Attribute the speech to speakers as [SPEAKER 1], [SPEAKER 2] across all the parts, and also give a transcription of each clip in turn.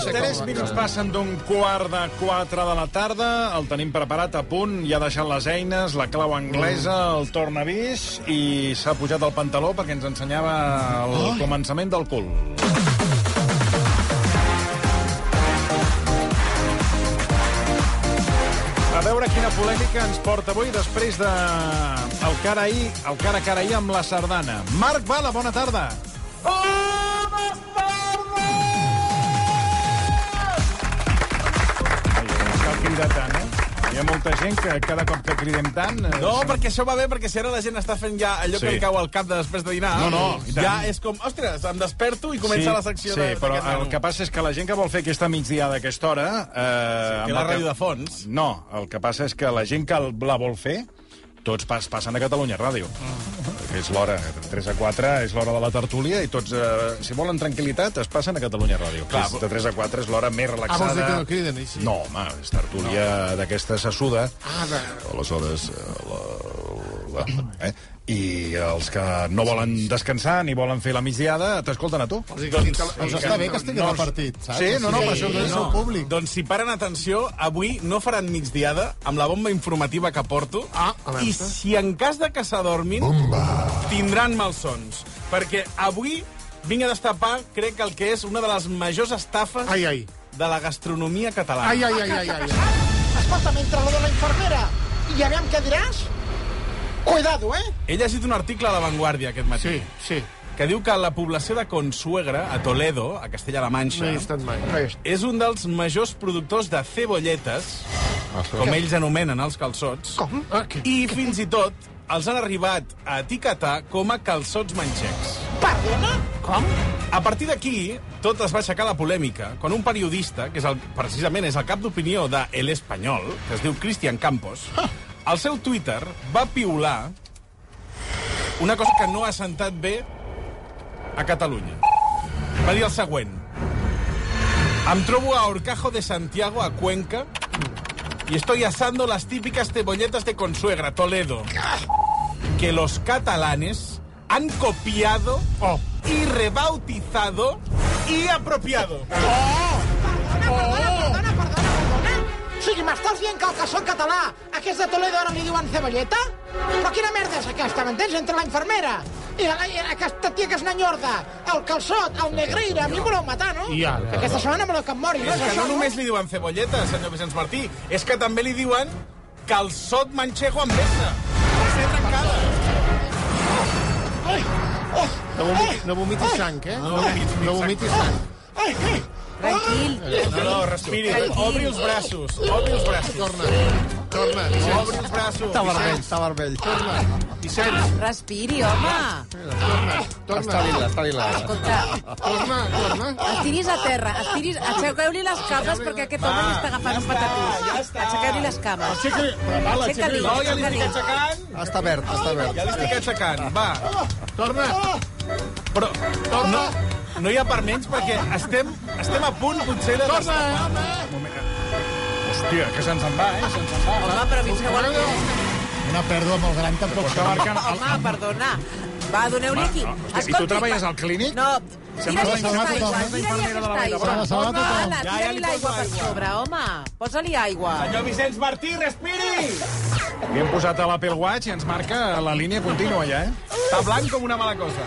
[SPEAKER 1] 3 minuts passen d'un quart de 4 de la tarda, el tenim preparat a punt, ja ha deixat les eines, la clau anglesa, el tornavís, i s'ha pujat al pantaló perquè ens ensenyava el començament del cul. A veure quina polèmica ens porta avui després de el cara ahir, el cara a cara ahir amb la sardana. Marc Bala, bona tarda. Cal cridar tant, eh? Hi ha molta gent que cada cop que cridem tant... eh,
[SPEAKER 2] No, perquè això va bé, perquè si ara la gent està fent ja allò sí.
[SPEAKER 1] Sí.
[SPEAKER 2] que li cau al cap de després de dinar,
[SPEAKER 1] No, no, i tant.
[SPEAKER 2] ja és com, ostres, em desperto i comença la secció
[SPEAKER 1] sí,
[SPEAKER 2] de,
[SPEAKER 1] però
[SPEAKER 2] d'aquest
[SPEAKER 1] el
[SPEAKER 2] nano.
[SPEAKER 1] que passa és que la gent que vol fer aquesta migdiada a aquesta hora... Eh, sí,
[SPEAKER 2] Que la ràdio de fons.
[SPEAKER 1] No, el que passa és que la gent que el- la vol fer, tots pas, passen a Catalunya Ràdio.
[SPEAKER 3] Mm.
[SPEAKER 1] Perquè És l'hora, de 3 a 4 és l'hora de la tertúlia i tots, eh, si volen tranquil·litat, es passen a Catalunya Ràdio. que
[SPEAKER 2] Clar,
[SPEAKER 1] és, de 3 a 4 és l'hora més
[SPEAKER 3] Ah,
[SPEAKER 1] relaxada.
[SPEAKER 3] vols dir que no criden així?
[SPEAKER 1] No, home, és tertúlia no. d'aquesta sassuda.
[SPEAKER 3] Ah, de...
[SPEAKER 1] Aleshores, eh, la, la, eh? i els que no volen descansar ni volen fer la migdiada, t'escolten a tu.
[SPEAKER 3] O sigui, que els, que, els Doncs està bé que estiguin al partit, saps?
[SPEAKER 1] Sí, no, no,
[SPEAKER 3] O
[SPEAKER 1] per
[SPEAKER 3] sigui,
[SPEAKER 1] això-
[SPEAKER 3] és el seu públic.
[SPEAKER 2] Doncs si paren atenció, avui no faran migdiada amb la bomba informativa que porto.
[SPEAKER 3] Ah, alerta.
[SPEAKER 2] I si en cas de que s'adormin, tindran malsons. Perquè avui vinc a destapar, crec que el que és una de les majors estafes
[SPEAKER 3] Ai, ai.
[SPEAKER 2] de la gastronomia catalana.
[SPEAKER 3] Ai, ai, ai, ai, ai.
[SPEAKER 4] Escolta, mentre lo de la infermera i aviam què diràs, cuidado, eh?
[SPEAKER 2] He llegit un article a La Vanguardia aquest matí.
[SPEAKER 3] Sí, sí.
[SPEAKER 2] que diu que la població de Consuegra, a Toledo, a Castella-La
[SPEAKER 3] No
[SPEAKER 2] Manxa,
[SPEAKER 3] hi he estat mai.
[SPEAKER 2] és un dels majors productors de cebolletes, com ells anomenen els calçots,
[SPEAKER 3] Com? Ah, què?
[SPEAKER 2] i fins i tot els han arribat a etiquetar com a calçots manxecs.
[SPEAKER 4] Perdona? Com?
[SPEAKER 2] A partir d'aquí, tot es va aixecar la polèmica quan un periodista, que és el, precisament és el cap d'opinió de El Espanyol, que es diu Cristian Campos, al seu Twitter va piular una cosa que no ha sentat bé a Catalunya. Va dir el següent. Em trobo a Horcajo de Santiago, a Cuenca, y estoy asando las típicas cebolletas de consuegra, Toledo, que los catalanes han copiado y rebautizado y apropiado. Oh.
[SPEAKER 4] Perdona, perdona, perdona, perdona. O sigui, m'estàs dient que el que són català, aquest de Toledo ara li diuen ceballeta? Però quina merda és aquesta, m'entens? Entre la infermera i la, i aquesta tia que és nanyorda, el calçot, el negreira, a mi em voleu matar, no?
[SPEAKER 3] I ara?
[SPEAKER 4] Aquesta setmana voleu que em mori, no
[SPEAKER 2] És
[SPEAKER 4] és
[SPEAKER 2] que
[SPEAKER 4] això,
[SPEAKER 2] no només li diuen cebolleta, senyor Vicenç Martí, és que també li diuen calçot manchego amb vessa. Ser trencada.
[SPEAKER 4] Ai, oh,
[SPEAKER 3] No vomitis, no vomitis sang, eh? No vomitis, no vomitis sang.
[SPEAKER 4] ai, ai.
[SPEAKER 5] Tranquil.
[SPEAKER 2] No, no, respiri. Obri els braços. Obri els braços.
[SPEAKER 3] Torna, torna,
[SPEAKER 2] Obri
[SPEAKER 3] Vicenç.
[SPEAKER 2] els braços.
[SPEAKER 3] Està barbell, està barbell. Torna, Vicenç,
[SPEAKER 5] Respiri, home.
[SPEAKER 3] torna, torna,
[SPEAKER 5] Escolta,
[SPEAKER 3] torna, torna.
[SPEAKER 5] estiris a terra, estiris... Aixequeu-li les cames perquè aquest home li està agafant un patatús.
[SPEAKER 2] ja està.
[SPEAKER 5] Aixequeu-li les cames. Aixeca-li,
[SPEAKER 2] No, ja li estic
[SPEAKER 5] aixeca-li.
[SPEAKER 2] aixecant.
[SPEAKER 3] Està verd, està verd.
[SPEAKER 2] Ja li estic aixecant. Va.
[SPEAKER 3] Torna,
[SPEAKER 2] Però no, no hi ha per menys perquè estem, estem a punt potser de...
[SPEAKER 3] torna. eh?
[SPEAKER 1] Hòstia, que se'ns en va, eh? Se'ns en va.
[SPEAKER 5] Home, però fins que vol...
[SPEAKER 3] Una pèrdua molt gran tampoc.
[SPEAKER 1] Està marcant... El...
[SPEAKER 5] Home, perdona. Va, doneu-li aquí.
[SPEAKER 1] no, hòstia, Doncs i tu treballes al clínic?
[SPEAKER 5] No,
[SPEAKER 1] Sembla
[SPEAKER 5] tira-li
[SPEAKER 1] la
[SPEAKER 5] aquesta
[SPEAKER 1] infermera de
[SPEAKER 5] aigua,
[SPEAKER 1] la
[SPEAKER 5] tira-li
[SPEAKER 1] Vall d'Hebron.
[SPEAKER 5] aquesta aigua.
[SPEAKER 3] Sembla la
[SPEAKER 5] Home,
[SPEAKER 3] sabata.
[SPEAKER 5] ala,
[SPEAKER 2] Ja, ja li
[SPEAKER 5] tira-li l'aigua
[SPEAKER 2] poso
[SPEAKER 5] per
[SPEAKER 2] aigua.
[SPEAKER 5] sobre, home. Posa-li aigua.
[SPEAKER 2] Senyor Vicenç Martí, respiri!
[SPEAKER 1] Li hem posat a l'Apple Watch i ens marca la línia contínua, ja, eh?
[SPEAKER 2] Està blanc com una mala cosa.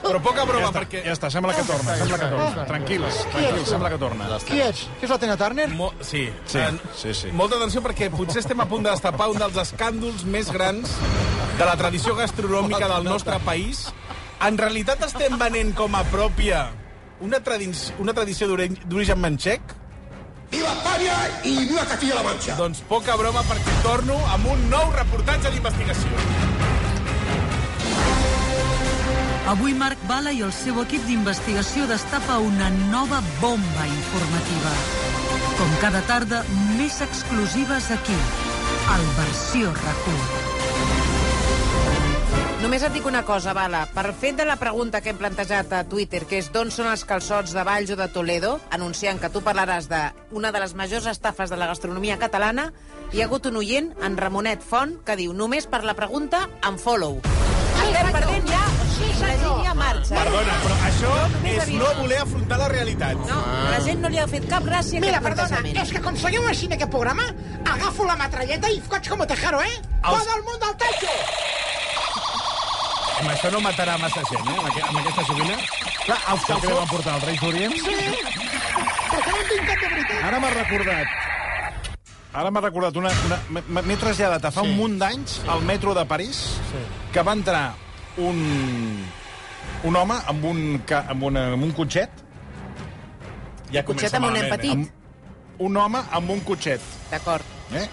[SPEAKER 2] Però poca broma,
[SPEAKER 1] Ja està,
[SPEAKER 2] perquè...
[SPEAKER 1] ja està, sembla que torna, sembla que torna. Tranquils, tranquils, sembla que torna.
[SPEAKER 4] Qui ets? Que és la Tina Turner?
[SPEAKER 2] Mo sí.
[SPEAKER 1] Sí,
[SPEAKER 2] En-
[SPEAKER 1] sí, sí.
[SPEAKER 2] Molta atenció perquè potser estem a punt de destapar un dels escàndols més grans de la tradició gastronòmica del nostre país. En realitat estem venent com a pròpia una, tradi una tradició d'ore- d'origen manxec?
[SPEAKER 6] ¡Viva España y viva Castilla-La Mancha!
[SPEAKER 2] Doncs poca broma perquè torno amb un nou reportatge d'investigació.
[SPEAKER 7] Avui Marc Bala i el seu equip d'investigació destapa una nova bomba informativa. Com cada tarda, més exclusives aquí, al Versió RAC1.
[SPEAKER 5] Només et dic una cosa, Bala. Per fet de la pregunta que hem plantejat a Twitter, que és d'on són els calçots de Valls o de Toledo, anunciant que tu parlaràs d'una de les majors estafes de la gastronomia catalana, hi ha hagut un oient, en Ramonet Font, que diu només per la pregunta, em follow. Estem perdent ja
[SPEAKER 4] Sí,
[SPEAKER 5] la
[SPEAKER 4] senyor.
[SPEAKER 5] gent ja marxa. eh?
[SPEAKER 2] Perdona, però això
[SPEAKER 5] només
[SPEAKER 2] és
[SPEAKER 5] havia-
[SPEAKER 2] no voler afrontar la realitat.
[SPEAKER 5] No, a la gent no li ha fet cap gràcia
[SPEAKER 4] Mira,
[SPEAKER 5] aquest
[SPEAKER 4] perdona,
[SPEAKER 5] plantejament.
[SPEAKER 4] és que aconseguim així en aquest programa, agafo la metralleta i faig com a Tejaro, eh? Els... Todo el mundo al techo!
[SPEAKER 2] Amb això no matarà massa gent, eh, amb, aqu amb aquesta sovina. Clar, els
[SPEAKER 1] Què li van portar, els Reis d'Orient?
[SPEAKER 4] Sí! Perquè no tinc cap de veritat.
[SPEAKER 1] Ara m'ha recordat... Ara m'ha recordat una... una m'he- M'he traslladat a fa sí. un munt d'anys al metro de París, sí. que va entrar un... un home amb un, ca- amb una, amb un cotxet...
[SPEAKER 2] Ja
[SPEAKER 5] Cotxet amb un nen petit.
[SPEAKER 2] Amb...
[SPEAKER 1] Un home eh? amb un cotxet,
[SPEAKER 5] D'acord.
[SPEAKER 1] eh?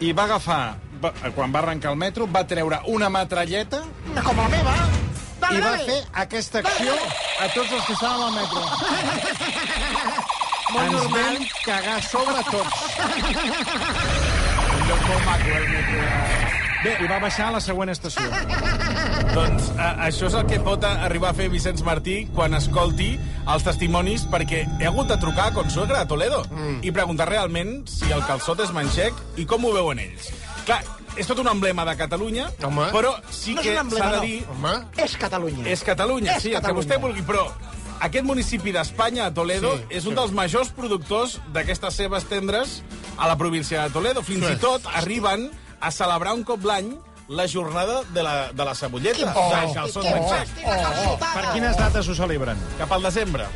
[SPEAKER 1] I va agafar... Va, quan va arrencar el metro, va treure una metralleta
[SPEAKER 4] Una com la meva. Dale,
[SPEAKER 1] i va
[SPEAKER 4] dale.
[SPEAKER 1] fer aquesta acció a tots els que estaven al metro. Molt Ens normal. vam cagar sobre tots. Bé, i va baixar a la següent estació.
[SPEAKER 2] Doncs a, això és el que pot a- arribar a fer Vicenç Martí quan escolti els testimonis, perquè he hagut de trucar a Consuegra a Toledo mm. i preguntar realment si el calçot és manxec i com ho veuen ells. Clar, és tot un emblema de Catalunya,
[SPEAKER 3] Home.
[SPEAKER 2] però sí
[SPEAKER 4] No és
[SPEAKER 2] que
[SPEAKER 4] un emblema,
[SPEAKER 2] s'ha de
[SPEAKER 4] no.
[SPEAKER 2] dir...
[SPEAKER 3] Home,
[SPEAKER 4] És Catalunya.
[SPEAKER 2] És Catalunya,
[SPEAKER 4] És
[SPEAKER 2] sí, el que
[SPEAKER 4] Catalunya.
[SPEAKER 2] vostè vulgui, però aquest municipi d'Espanya, a Toledo,
[SPEAKER 3] Sí,
[SPEAKER 2] sí, és un dels majors productors d'aquestes cebes tendres a la província de Toledo. Fins
[SPEAKER 3] Sí.
[SPEAKER 2] i tot arriben a celebrar un cop l'any la jornada de la, de la cebolleta,
[SPEAKER 4] Oh.
[SPEAKER 2] de calçons
[SPEAKER 4] Oh.
[SPEAKER 2] ben secs,
[SPEAKER 4] Estic assaltada.
[SPEAKER 1] Per quines dates ho celebren?
[SPEAKER 2] cap al desembre.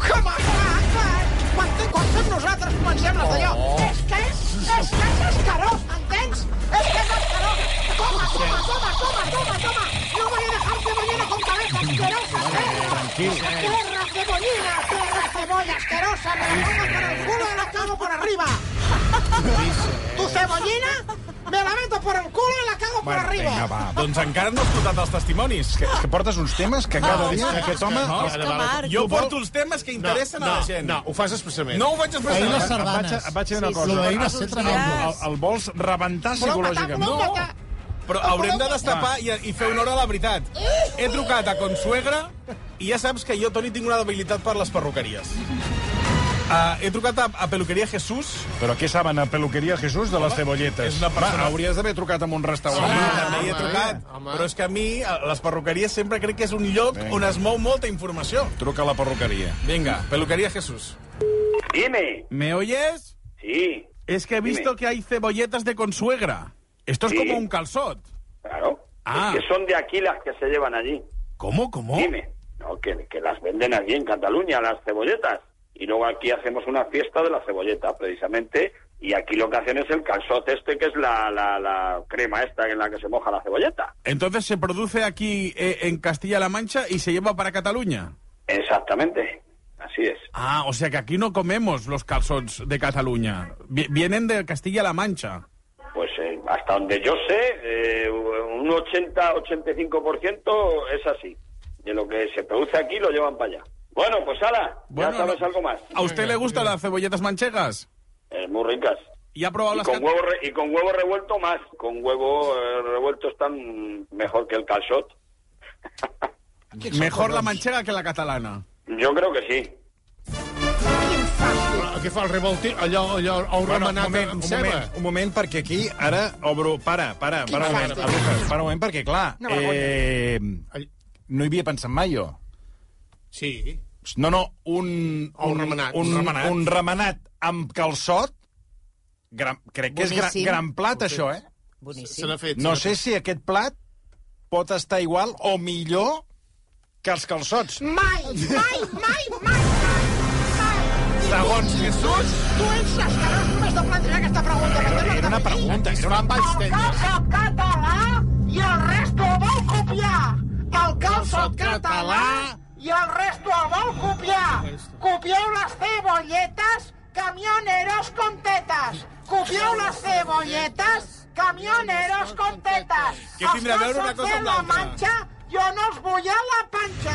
[SPEAKER 4] Com a clar, clar. Quan, te- quan fem nosaltres comencem les d'allò. És que és, és que és escarós, entens? És que és escarós. Toma, toma, toma, toma, toma, toma. No voy a dejarte mañana con cabeza asquerosa, perra. Perra cebollina, perra cebolla asquerosa. Me la pongo por el culo y la cago por arriba. Tu cebollina, me la meto por el culo y la cago por arriba.
[SPEAKER 1] Vinga, va.
[SPEAKER 2] Doncs encara no has escoltat els testimonis.
[SPEAKER 1] És que, és que portes uns temes que cada dia aquest home...
[SPEAKER 3] no.
[SPEAKER 1] els-
[SPEAKER 5] És que Marc...
[SPEAKER 2] Jo porto els temes que
[SPEAKER 3] no,
[SPEAKER 2] interessen
[SPEAKER 3] no,
[SPEAKER 2] a la gent.
[SPEAKER 3] no, ho fas expressament.
[SPEAKER 2] no ho vaig
[SPEAKER 8] Ahir les
[SPEAKER 2] expressar.
[SPEAKER 1] Et vaig,
[SPEAKER 8] sardanes.
[SPEAKER 1] a- et vaig a dir una
[SPEAKER 5] Sí, sí.
[SPEAKER 1] cosa.
[SPEAKER 8] Lo d'ahir va ser tremendo.
[SPEAKER 1] El, el vols rebentar psicològicament.
[SPEAKER 2] No, però haurem de destapar i, i fer honor a la veritat. He trucat a Consuegra i ja saps que jo, Toni, tinc una debilitat per les perruqueries. Uh, he trucat a, a Peluqueria Jesús.
[SPEAKER 1] Però què saben a Peluqueria Jesús de les cebolletes?
[SPEAKER 2] és una persona-
[SPEAKER 1] Va, hauries d'haver trucat a un restaurant.
[SPEAKER 2] Ah, també hi he
[SPEAKER 3] home,
[SPEAKER 2] trucat.
[SPEAKER 3] home.
[SPEAKER 2] Però és que a mi a les perruqueries sempre crec que és un lloc
[SPEAKER 1] Vinga.
[SPEAKER 2] on es mou molta informació.
[SPEAKER 1] Truca a la perruqueria.
[SPEAKER 2] Vinga, Peluqueria Jesús.
[SPEAKER 6] Dime.
[SPEAKER 2] ¿Me oyes?
[SPEAKER 6] Sí,
[SPEAKER 2] Es que he visto que hay cebolletas de Consuegra. Esto es
[SPEAKER 6] Sí.
[SPEAKER 2] como un calzot.
[SPEAKER 6] claro.
[SPEAKER 2] Ah. ¿Oh?
[SPEAKER 6] Es que son de aquí las que se llevan allí.
[SPEAKER 2] ¿Cómo, cómo?
[SPEAKER 6] Dime. No, que, que las venden aquí en Cataluña, las cebolletas. Y luego aquí hacemos una fiesta de la cebolleta, precisamente. Y aquí lo que hacen es el calzote este, que es la, la, la crema esta en la que se moja la cebolleta.
[SPEAKER 2] Entonces se produce aquí eh, en Castilla-La Mancha y se lleva para Cataluña.
[SPEAKER 6] Exactamente. Así es.
[SPEAKER 2] Ah, o sea que aquí no comemos los calzots de Cataluña. Vi- Vienen de Castilla-La Mancha.
[SPEAKER 6] Pues eh, hasta donde yo sé, eh, un 80-85% es así. De lo que se produce aquí lo llevan para allá. Bueno, pues ala,
[SPEAKER 2] Bueno,
[SPEAKER 6] ya sabes
[SPEAKER 2] no-
[SPEAKER 6] algo más.
[SPEAKER 2] ¿A usted le gustan las cebolletas manchegas?
[SPEAKER 6] Es muy ricas.
[SPEAKER 2] ¿Y ha probado
[SPEAKER 6] Y
[SPEAKER 2] las
[SPEAKER 6] con,
[SPEAKER 2] cat-
[SPEAKER 6] huevo re- y con huevo revuelto más. Con huevo eh, revuelto están mejor que el calzot.
[SPEAKER 2] Mejor
[SPEAKER 1] doncs?
[SPEAKER 2] la manchega que la catalana.
[SPEAKER 6] Yo creo que sí.
[SPEAKER 3] Però Què fa el revolti? Allò, allò, el
[SPEAKER 1] Bueno, un
[SPEAKER 3] remenat
[SPEAKER 1] moment, un
[SPEAKER 3] amb
[SPEAKER 1] moment,
[SPEAKER 3] ceba.
[SPEAKER 1] un moment, perquè aquí ara obro... Para, para, para un moment,
[SPEAKER 4] fàstic.
[SPEAKER 1] Lucas, para un moment, perquè, clar,
[SPEAKER 4] Una
[SPEAKER 1] eh,
[SPEAKER 3] Ai,
[SPEAKER 1] no hi havia pensat mai, jo.
[SPEAKER 3] Sí.
[SPEAKER 1] No, no, un...
[SPEAKER 3] Un remenat,
[SPEAKER 1] Un,
[SPEAKER 3] un remenat.
[SPEAKER 1] un remenat amb calçot, gran, crec que és gran,
[SPEAKER 5] Boníssim.
[SPEAKER 1] gran plat, això, eh?
[SPEAKER 3] Se
[SPEAKER 5] Boníssim.
[SPEAKER 3] n'ha fet. se
[SPEAKER 1] No
[SPEAKER 3] n'ha
[SPEAKER 1] sé si aquest plat pot estar igual o millor que els calçots.
[SPEAKER 4] Mai, mai, mai, mai, mai, mai.
[SPEAKER 2] Segons Jesús...
[SPEAKER 4] Tu ets escarós només de plantejar aquesta pregunta. Però
[SPEAKER 1] Era una pregunta, era una...
[SPEAKER 3] Vaig
[SPEAKER 4] El
[SPEAKER 3] tenir.
[SPEAKER 4] calçot català i el resto el vol copiar. El calçot català i el resto el vol copiar. Copieu les cebolletes, camioneros con tetas. Copieu les cebolletes, camioneros con tetas.
[SPEAKER 2] Què tindrà a veure una cosa amb
[SPEAKER 4] la
[SPEAKER 2] l'altra?
[SPEAKER 4] manxa, jo no els vull a la panxa.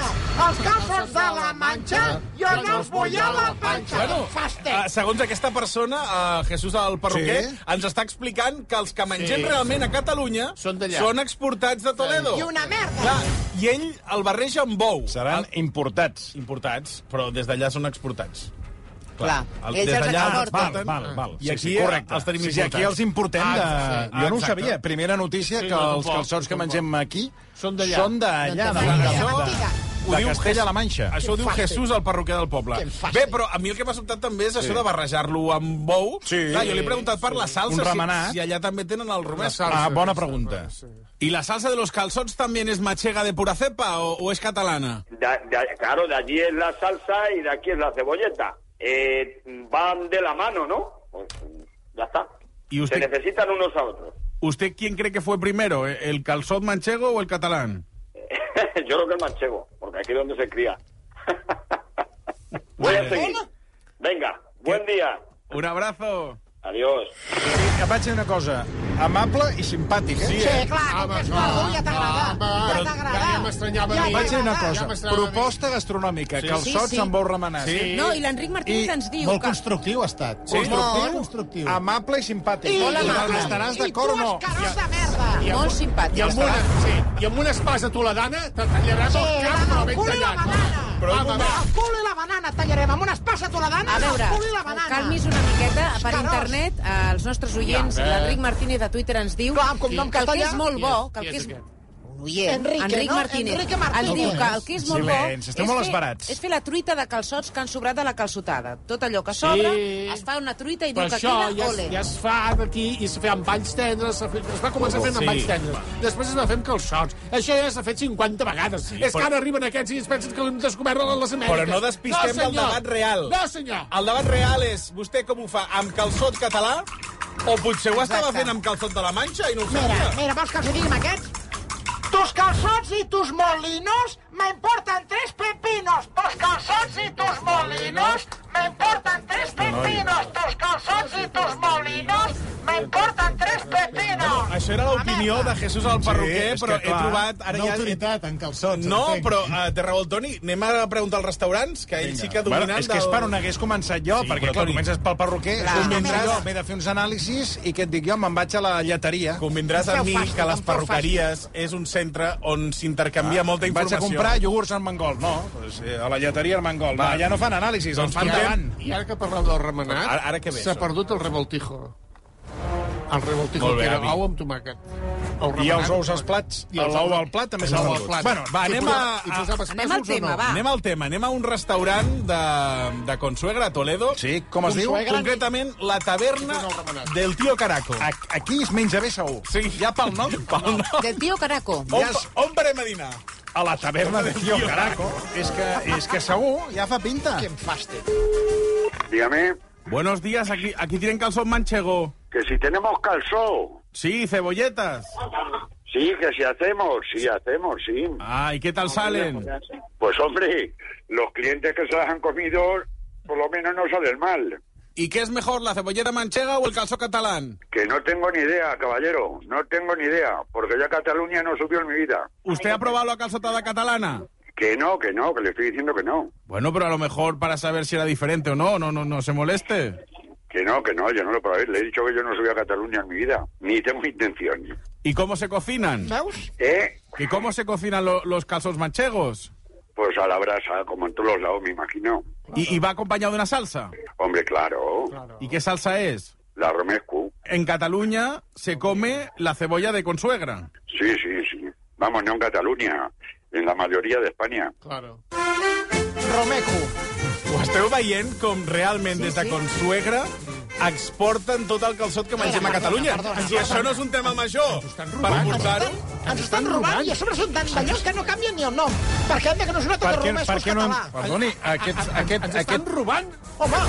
[SPEAKER 4] Els calçots de la manxa, jo no els vull a la panxa.
[SPEAKER 2] Bueno, eh,
[SPEAKER 4] Fastec.
[SPEAKER 2] segons aquesta persona, eh, Jesús el perruquer,
[SPEAKER 3] Sí.
[SPEAKER 2] ens està explicant que els que mengem
[SPEAKER 3] Sí,
[SPEAKER 2] realment a Catalunya
[SPEAKER 3] Són d'allà.
[SPEAKER 2] són exportats de Toledo.
[SPEAKER 4] I una merda.
[SPEAKER 2] Clar, I ell el barreja amb bou.
[SPEAKER 1] Seran importats.
[SPEAKER 2] Importats, però des d'allà són exportats.
[SPEAKER 5] Clar, ells
[SPEAKER 2] des
[SPEAKER 5] els
[SPEAKER 2] d'allà
[SPEAKER 5] exporten.
[SPEAKER 2] exporten.
[SPEAKER 1] Val, val.
[SPEAKER 2] I aquí eh, els tenim
[SPEAKER 1] sí, sí, aquí
[SPEAKER 2] importats.
[SPEAKER 1] els importem de...
[SPEAKER 2] Ah, sí.
[SPEAKER 1] jo no ho
[SPEAKER 2] Exacte.
[SPEAKER 1] sabia. Primera notícia,
[SPEAKER 2] Sí,
[SPEAKER 1] que
[SPEAKER 2] no,
[SPEAKER 1] els
[SPEAKER 2] tampoc,
[SPEAKER 1] calçots que
[SPEAKER 2] tampoc.
[SPEAKER 1] mengem aquí
[SPEAKER 3] Són d'allà.
[SPEAKER 1] Són d'allà,
[SPEAKER 4] No
[SPEAKER 1] de,
[SPEAKER 4] te
[SPEAKER 1] de,
[SPEAKER 4] facis la
[SPEAKER 1] de,
[SPEAKER 4] mentida.
[SPEAKER 1] de, de Castella-La Manxa.
[SPEAKER 2] Això ho diu
[SPEAKER 4] fàcil.
[SPEAKER 2] Jesús, el perruquer del poble.
[SPEAKER 4] Que fàcil.
[SPEAKER 2] Bé, però a mi el que m'ha sobtat també és això de barrejar-lo amb bou.
[SPEAKER 1] Sí.
[SPEAKER 2] Clar, jo li he preguntat per la
[SPEAKER 1] Un
[SPEAKER 2] salsa, si,
[SPEAKER 1] remenat.
[SPEAKER 2] si allà també tenen el romesa.
[SPEAKER 1] Ah, bona pregunta.
[SPEAKER 2] ¿Y la salsa de los calzots también es machega de pura cepa o, o es catalana?
[SPEAKER 6] Da- da- claro, de allí es la salsa y de aquí es la cebolleta. Eh, van de la mano, ¿no? Pues, ya está.
[SPEAKER 2] ¿Y usted-
[SPEAKER 6] Se necesitan unos a otros.
[SPEAKER 2] ¿Usted quién cree que fue primero, eh, el calzot manchego o el catalán?
[SPEAKER 6] Yo creo que el manchego, porque aquí es donde se cría. Voy a seguir. Venga, buen día.
[SPEAKER 2] Un abrazo.
[SPEAKER 6] Adiós.
[SPEAKER 1] I vaig dir una cosa, amable i simpàtic, eh?
[SPEAKER 4] Sí, clar, com
[SPEAKER 3] Home,
[SPEAKER 4] que és
[SPEAKER 3] clar,
[SPEAKER 4] verdú ja t'agrada.
[SPEAKER 3] home,
[SPEAKER 4] Ja
[SPEAKER 3] però
[SPEAKER 4] t'agrada.
[SPEAKER 3] ja m'estranyava a mi.
[SPEAKER 1] Vaig dir una
[SPEAKER 4] t'agrada.
[SPEAKER 1] cosa,
[SPEAKER 3] m'estranya a mi.
[SPEAKER 1] proposta gastronòmica, calçots
[SPEAKER 5] Sí, sí.
[SPEAKER 1] amb bou remenat.
[SPEAKER 2] Sí.
[SPEAKER 5] No, i l'Enric Martínez ens diu
[SPEAKER 3] Molt
[SPEAKER 5] que...
[SPEAKER 3] constructiu ha estat.
[SPEAKER 1] Sí.
[SPEAKER 3] Molt constructiu.
[SPEAKER 1] amable i simpàtic.
[SPEAKER 4] I-
[SPEAKER 1] Molt
[SPEAKER 4] i-
[SPEAKER 1] amable. Estaràs d'acord o
[SPEAKER 4] I
[SPEAKER 1] no?
[SPEAKER 4] tu, escarós de merda.
[SPEAKER 5] Molt
[SPEAKER 3] I amb,
[SPEAKER 5] simpàtic.
[SPEAKER 3] una, sí, I amb una espasa toledana te tallaràs
[SPEAKER 4] Sí,
[SPEAKER 3] el cap però
[SPEAKER 4] el
[SPEAKER 3] ben
[SPEAKER 4] cul i la
[SPEAKER 3] tallat.
[SPEAKER 4] banana.
[SPEAKER 3] Però, va, va,
[SPEAKER 4] El cul i la banana tallarem amb una espasa toledana,
[SPEAKER 5] A veure,
[SPEAKER 4] el cul i la banana.
[SPEAKER 5] calmis una miqueta. Per
[SPEAKER 4] Escarós.
[SPEAKER 5] internet, eh, els nostres oients, l'Enric Martínez de Twitter ens diu
[SPEAKER 4] Clar, amb cognom
[SPEAKER 5] que el que
[SPEAKER 4] castellà.
[SPEAKER 5] és molt bo,
[SPEAKER 3] Qui
[SPEAKER 5] que el
[SPEAKER 3] és
[SPEAKER 5] que és...
[SPEAKER 3] aquest?
[SPEAKER 5] Un oient,
[SPEAKER 4] Enrique,
[SPEAKER 5] Enric
[SPEAKER 4] no?
[SPEAKER 5] Martínez,
[SPEAKER 4] Enrique Martínez.
[SPEAKER 5] ens diu que el que és molt
[SPEAKER 1] Silenci,
[SPEAKER 5] bo
[SPEAKER 1] esteu molt
[SPEAKER 5] és
[SPEAKER 1] esbarats.
[SPEAKER 5] fer, és fer la truita de calçots que han sobrat de la calçotada. Tot allò que sobra es fa una truita i
[SPEAKER 3] Per
[SPEAKER 5] diu que
[SPEAKER 3] això
[SPEAKER 5] queda
[SPEAKER 3] ja, es-
[SPEAKER 5] ole.
[SPEAKER 3] ja es fa d'aquí i es fa amb balls tendres, es, fa, es va començar fent amb
[SPEAKER 2] Sí.
[SPEAKER 3] balls tendres, després es va fer amb calçots. Això ja s'ha fet 50 vegades. és
[SPEAKER 2] però-
[SPEAKER 3] que ara arriben aquests i es pensen que l'hem descobert a les Amèriques.
[SPEAKER 2] Però no despistem del
[SPEAKER 3] senyor.
[SPEAKER 2] debat real.
[SPEAKER 3] No, senyor.
[SPEAKER 2] El debat real és, vostè com ho fa, amb calçot català o potser ho estava
[SPEAKER 4] Exacte.
[SPEAKER 2] fent amb calçot de la manxa i no ho
[SPEAKER 4] Mira,
[SPEAKER 2] sabia?
[SPEAKER 4] mira, vols que els hi diguem aquests? Tus calçots i tus molinos me importan tres pepinos. Tus calçots i tus molinos me importan tres pepinos. Tus calçots i tus molinos me importan tres pepinos.
[SPEAKER 2] Això era l'opinió de Jesús el perruquer,
[SPEAKER 1] és que,
[SPEAKER 2] però he
[SPEAKER 1] clar,
[SPEAKER 2] trobat... Ara ja,
[SPEAKER 3] en calçots.
[SPEAKER 2] No, però uh, té raó el Toni. Anem a preguntar als restaurants, que ell sí que dominant...
[SPEAKER 1] Bueno, és que és
[SPEAKER 2] del-
[SPEAKER 1] per on hagués començat jo,
[SPEAKER 2] Sí,
[SPEAKER 1] sí, perquè
[SPEAKER 2] però,
[SPEAKER 1] clar,
[SPEAKER 2] Toni,
[SPEAKER 1] comences pel perruquer,
[SPEAKER 5] clar,
[SPEAKER 1] tu
[SPEAKER 5] no
[SPEAKER 1] vindràs,
[SPEAKER 5] m'agrada.
[SPEAKER 1] jo m'he de fer uns anàlisis i què et dic jo? Me'n vaig a la lleteria.
[SPEAKER 2] Convindràs
[SPEAKER 5] Feu
[SPEAKER 2] amb mi
[SPEAKER 5] fàstic,
[SPEAKER 2] que les
[SPEAKER 5] em feu
[SPEAKER 2] perruqueries és un centre on s'intercanvia molta
[SPEAKER 1] Ah, Vaig
[SPEAKER 2] informació.
[SPEAKER 1] a comprar iogurts al Mangol. No, doncs, eh, a la lleteria al Mangol. No,
[SPEAKER 2] Va.
[SPEAKER 1] ja no fan anàlisis,
[SPEAKER 2] Doncs
[SPEAKER 1] els fan
[SPEAKER 2] comptem.
[SPEAKER 1] davant.
[SPEAKER 3] I ara que parleu del remenat,
[SPEAKER 2] Ara- ara què ve,
[SPEAKER 3] s'ha
[SPEAKER 2] això?
[SPEAKER 3] perdut el revoltijo. El revoltijo
[SPEAKER 2] Molt bé,
[SPEAKER 3] que era
[SPEAKER 2] avi.
[SPEAKER 3] ou amb tomàquet.
[SPEAKER 1] I
[SPEAKER 3] El
[SPEAKER 1] els
[SPEAKER 2] Ah.
[SPEAKER 3] remenat-
[SPEAKER 1] ous als plats.
[SPEAKER 3] I els
[SPEAKER 1] L'ou
[SPEAKER 3] ous-
[SPEAKER 1] al plat també
[SPEAKER 3] l'ou
[SPEAKER 1] s'ha
[SPEAKER 3] al
[SPEAKER 1] perdut.
[SPEAKER 3] plat.
[SPEAKER 1] Bueno, va,
[SPEAKER 3] I
[SPEAKER 1] anem
[SPEAKER 3] posava-
[SPEAKER 1] a-
[SPEAKER 3] i posaves
[SPEAKER 5] Anem al
[SPEAKER 3] passos o
[SPEAKER 5] tema,
[SPEAKER 3] no?
[SPEAKER 5] va.
[SPEAKER 2] Anem al tema, anem a un restaurant de, de Consuegra, a Toledo.
[SPEAKER 1] Sí, com es diu?
[SPEAKER 3] Consuegra.
[SPEAKER 2] Concretament, la taverna
[SPEAKER 3] Poseu el remenat.
[SPEAKER 2] del tio Caraco.
[SPEAKER 1] A- Aquí es menja bé segur.
[SPEAKER 2] Sí.
[SPEAKER 1] Ja pel nom.
[SPEAKER 2] Pel nom.
[SPEAKER 5] Del tio Caraco.
[SPEAKER 2] On,
[SPEAKER 1] Ja és-
[SPEAKER 2] on parem a dinar?
[SPEAKER 1] A la taverna del tio Caraco. És que, és que segur ja fa pinta.
[SPEAKER 3] Quin fàstic.
[SPEAKER 6] Dígame
[SPEAKER 2] Buenos días, aquí, aquí tienen calzón manchego.
[SPEAKER 6] que si tenemos calzón,
[SPEAKER 2] Sí, cebolletas.
[SPEAKER 6] sí, que si hacemos, sí, hacemos, sí.
[SPEAKER 2] Ah, ¿y qué tal salen?
[SPEAKER 6] Pues hombre, los clientes que se las han comido, por lo menos no salen mal.
[SPEAKER 2] ¿Y qué es mejor, la cebolleta manchega o el calzón catalán?
[SPEAKER 6] Que no tengo ni idea, caballero, no tengo ni idea, porque ya Cataluña no subió en mi vida.
[SPEAKER 2] ¿Usted ha probado la calzotada catalana?
[SPEAKER 6] Que no, que no, que le estoy diciendo que no.
[SPEAKER 2] Bueno, pero a lo mejor para saber si era diferente o no, no, no, no se moleste.
[SPEAKER 6] Que no, que no, yo no lo probé. eh, Le he dicho que yo no subí a Cataluña en mi vida. Ni tengo intención.
[SPEAKER 2] ¿Y cómo se cocinan?
[SPEAKER 4] Veus?
[SPEAKER 6] ¿Eh?
[SPEAKER 2] ¿Y cómo se cocinan lo- los calzones manchegos?
[SPEAKER 6] Pues a la brasa, como en todos los lados, me imagino.
[SPEAKER 2] ¿Y, y va acompañado de una salsa?
[SPEAKER 6] Hombre, claro.
[SPEAKER 2] ¿Y qué salsa es?
[SPEAKER 6] La romescu.
[SPEAKER 2] En Cataluña se come la cebolla de consuegra.
[SPEAKER 6] Sí, sí, sí. Vamos, no en Cataluña. En la mayoría de España.
[SPEAKER 3] Claro.
[SPEAKER 4] Romeco.
[SPEAKER 2] Ho esteu veient com realment sí, des de consuegra exporten tot el calçot que mengem a Catalunya. Si això no és un tema major, per portar-ho...
[SPEAKER 4] Ens estan robant i a sobre són tan ballons que no canvien ni el nom. Perquè hem de que no sona tot
[SPEAKER 1] Per
[SPEAKER 4] el
[SPEAKER 1] què,
[SPEAKER 4] romesco
[SPEAKER 1] per què no...
[SPEAKER 4] català.
[SPEAKER 1] Perdoni, aquest, aquest,
[SPEAKER 3] Ens estan
[SPEAKER 1] aquest,
[SPEAKER 3] robant?
[SPEAKER 4] Home,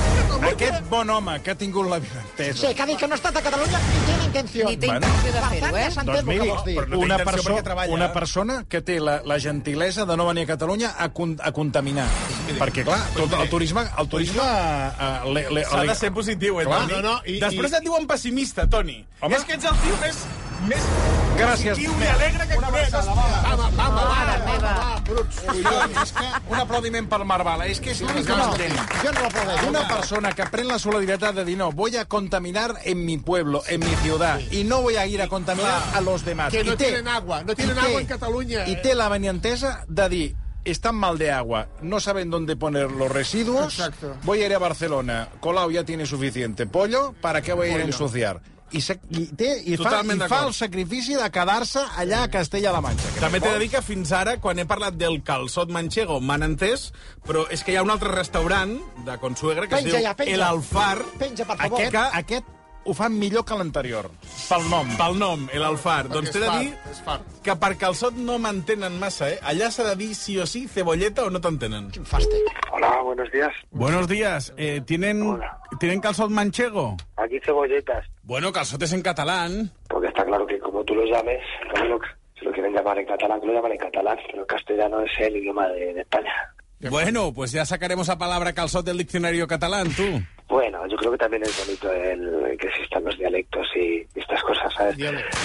[SPEAKER 1] aquest bon home que ha tingut la vida entesa,
[SPEAKER 4] sí, que ha dit que no ha estat a Catalunya ni té intenció.
[SPEAKER 5] Ni té
[SPEAKER 1] Bueno.
[SPEAKER 5] intenció de
[SPEAKER 4] Per tant,
[SPEAKER 5] fer-ho,
[SPEAKER 4] ja
[SPEAKER 5] eh?
[SPEAKER 4] s'entén
[SPEAKER 1] Doncs
[SPEAKER 4] el
[SPEAKER 1] miri,
[SPEAKER 4] que vols dir.
[SPEAKER 2] però no té
[SPEAKER 1] una,
[SPEAKER 2] intenció
[SPEAKER 1] perso
[SPEAKER 2] perquè eh? treballa.
[SPEAKER 1] una persona que té la, la gentilesa de no venir a Catalunya a, con a contaminar. Perquè, clar, tot el turisme... El turisme eh, le- le-
[SPEAKER 2] S'ha
[SPEAKER 1] le-
[SPEAKER 2] de ser positiu, eh,
[SPEAKER 1] Clar,
[SPEAKER 2] Toni?
[SPEAKER 3] no, no, i-
[SPEAKER 2] Després
[SPEAKER 3] i-
[SPEAKER 2] et diuen pessimista, Toni.
[SPEAKER 1] Home.
[SPEAKER 2] És que ets el tio més, més
[SPEAKER 1] Gràcies.
[SPEAKER 2] positiu i alegre que conec.
[SPEAKER 3] Va, va, va, va, va,
[SPEAKER 5] mare
[SPEAKER 3] va,
[SPEAKER 5] meva.
[SPEAKER 3] va, va, bruts. És que...
[SPEAKER 1] Un aplaudiment per Marc Bala. És que és l'únic que no
[SPEAKER 3] No,
[SPEAKER 1] entenc.
[SPEAKER 3] jo no l'aplaudeixo.
[SPEAKER 1] Una persona que pren la solidaridad de decir, no, voy a contaminar en mi pueblo, en mi ciudad, y no voy a ir a contaminar a los demás.
[SPEAKER 3] Que
[SPEAKER 1] I
[SPEAKER 3] no tienen agua, no
[SPEAKER 1] i
[SPEAKER 3] tienen
[SPEAKER 1] té-
[SPEAKER 3] agua en eh. Cataluña.
[SPEAKER 1] Y té la venientesa de dir, están mal de agua, no saben dónde poner los residuos,
[SPEAKER 3] Exacto.
[SPEAKER 1] voy a ir a Barcelona, Colau ya tiene suficiente pollo, ¿para qué voy a ir a ensuciar? I, se, i, té, i, fa,
[SPEAKER 2] Totalment
[SPEAKER 1] i fa
[SPEAKER 2] d'acord.
[SPEAKER 1] el sacrifici de quedar-se allà a Castella-La Manxa. que
[SPEAKER 2] També
[SPEAKER 1] no
[SPEAKER 2] t'he
[SPEAKER 1] vol.
[SPEAKER 2] de dir que fins ara, quan he parlat del calçot manchego, m'han entès, però és que hi ha un altre restaurant de Consuegra que es
[SPEAKER 4] Penja
[SPEAKER 2] diu
[SPEAKER 4] ja, penja.
[SPEAKER 2] El Alfar.
[SPEAKER 4] Penja, per favor.
[SPEAKER 1] Aquest,
[SPEAKER 2] Que,
[SPEAKER 1] aquest ho fan millor que l'anterior, pel nom.
[SPEAKER 2] pel nom, El Alfar. Doncs t'he de
[SPEAKER 3] fart,
[SPEAKER 2] dir
[SPEAKER 3] és fart.
[SPEAKER 2] que per calçot no m'entenen massa, eh? Allà s'ha de dir sí o sí cebolleta o no t'entenen.
[SPEAKER 3] eh?
[SPEAKER 6] Hola, buenos días.
[SPEAKER 2] Buenos días. Eh, ¿tienen,
[SPEAKER 6] Hola.
[SPEAKER 2] ¿Tienen calçot manchego?
[SPEAKER 6] Aquí cebolletas.
[SPEAKER 2] Bueno, calçotes en catalán.
[SPEAKER 6] Porque está claro que como tú lo llames, como lo- si lo quieren llamar en catalán, que lo llaman en catalán, pero el castellano es el idioma de, de España.
[SPEAKER 2] Bueno, pues ya sacaremos la palabra calçot del diccionario catalán, tú.
[SPEAKER 6] Bueno, yo creo que también es bonito el que existan los dialectos y, y estas cosas, ¿sabes?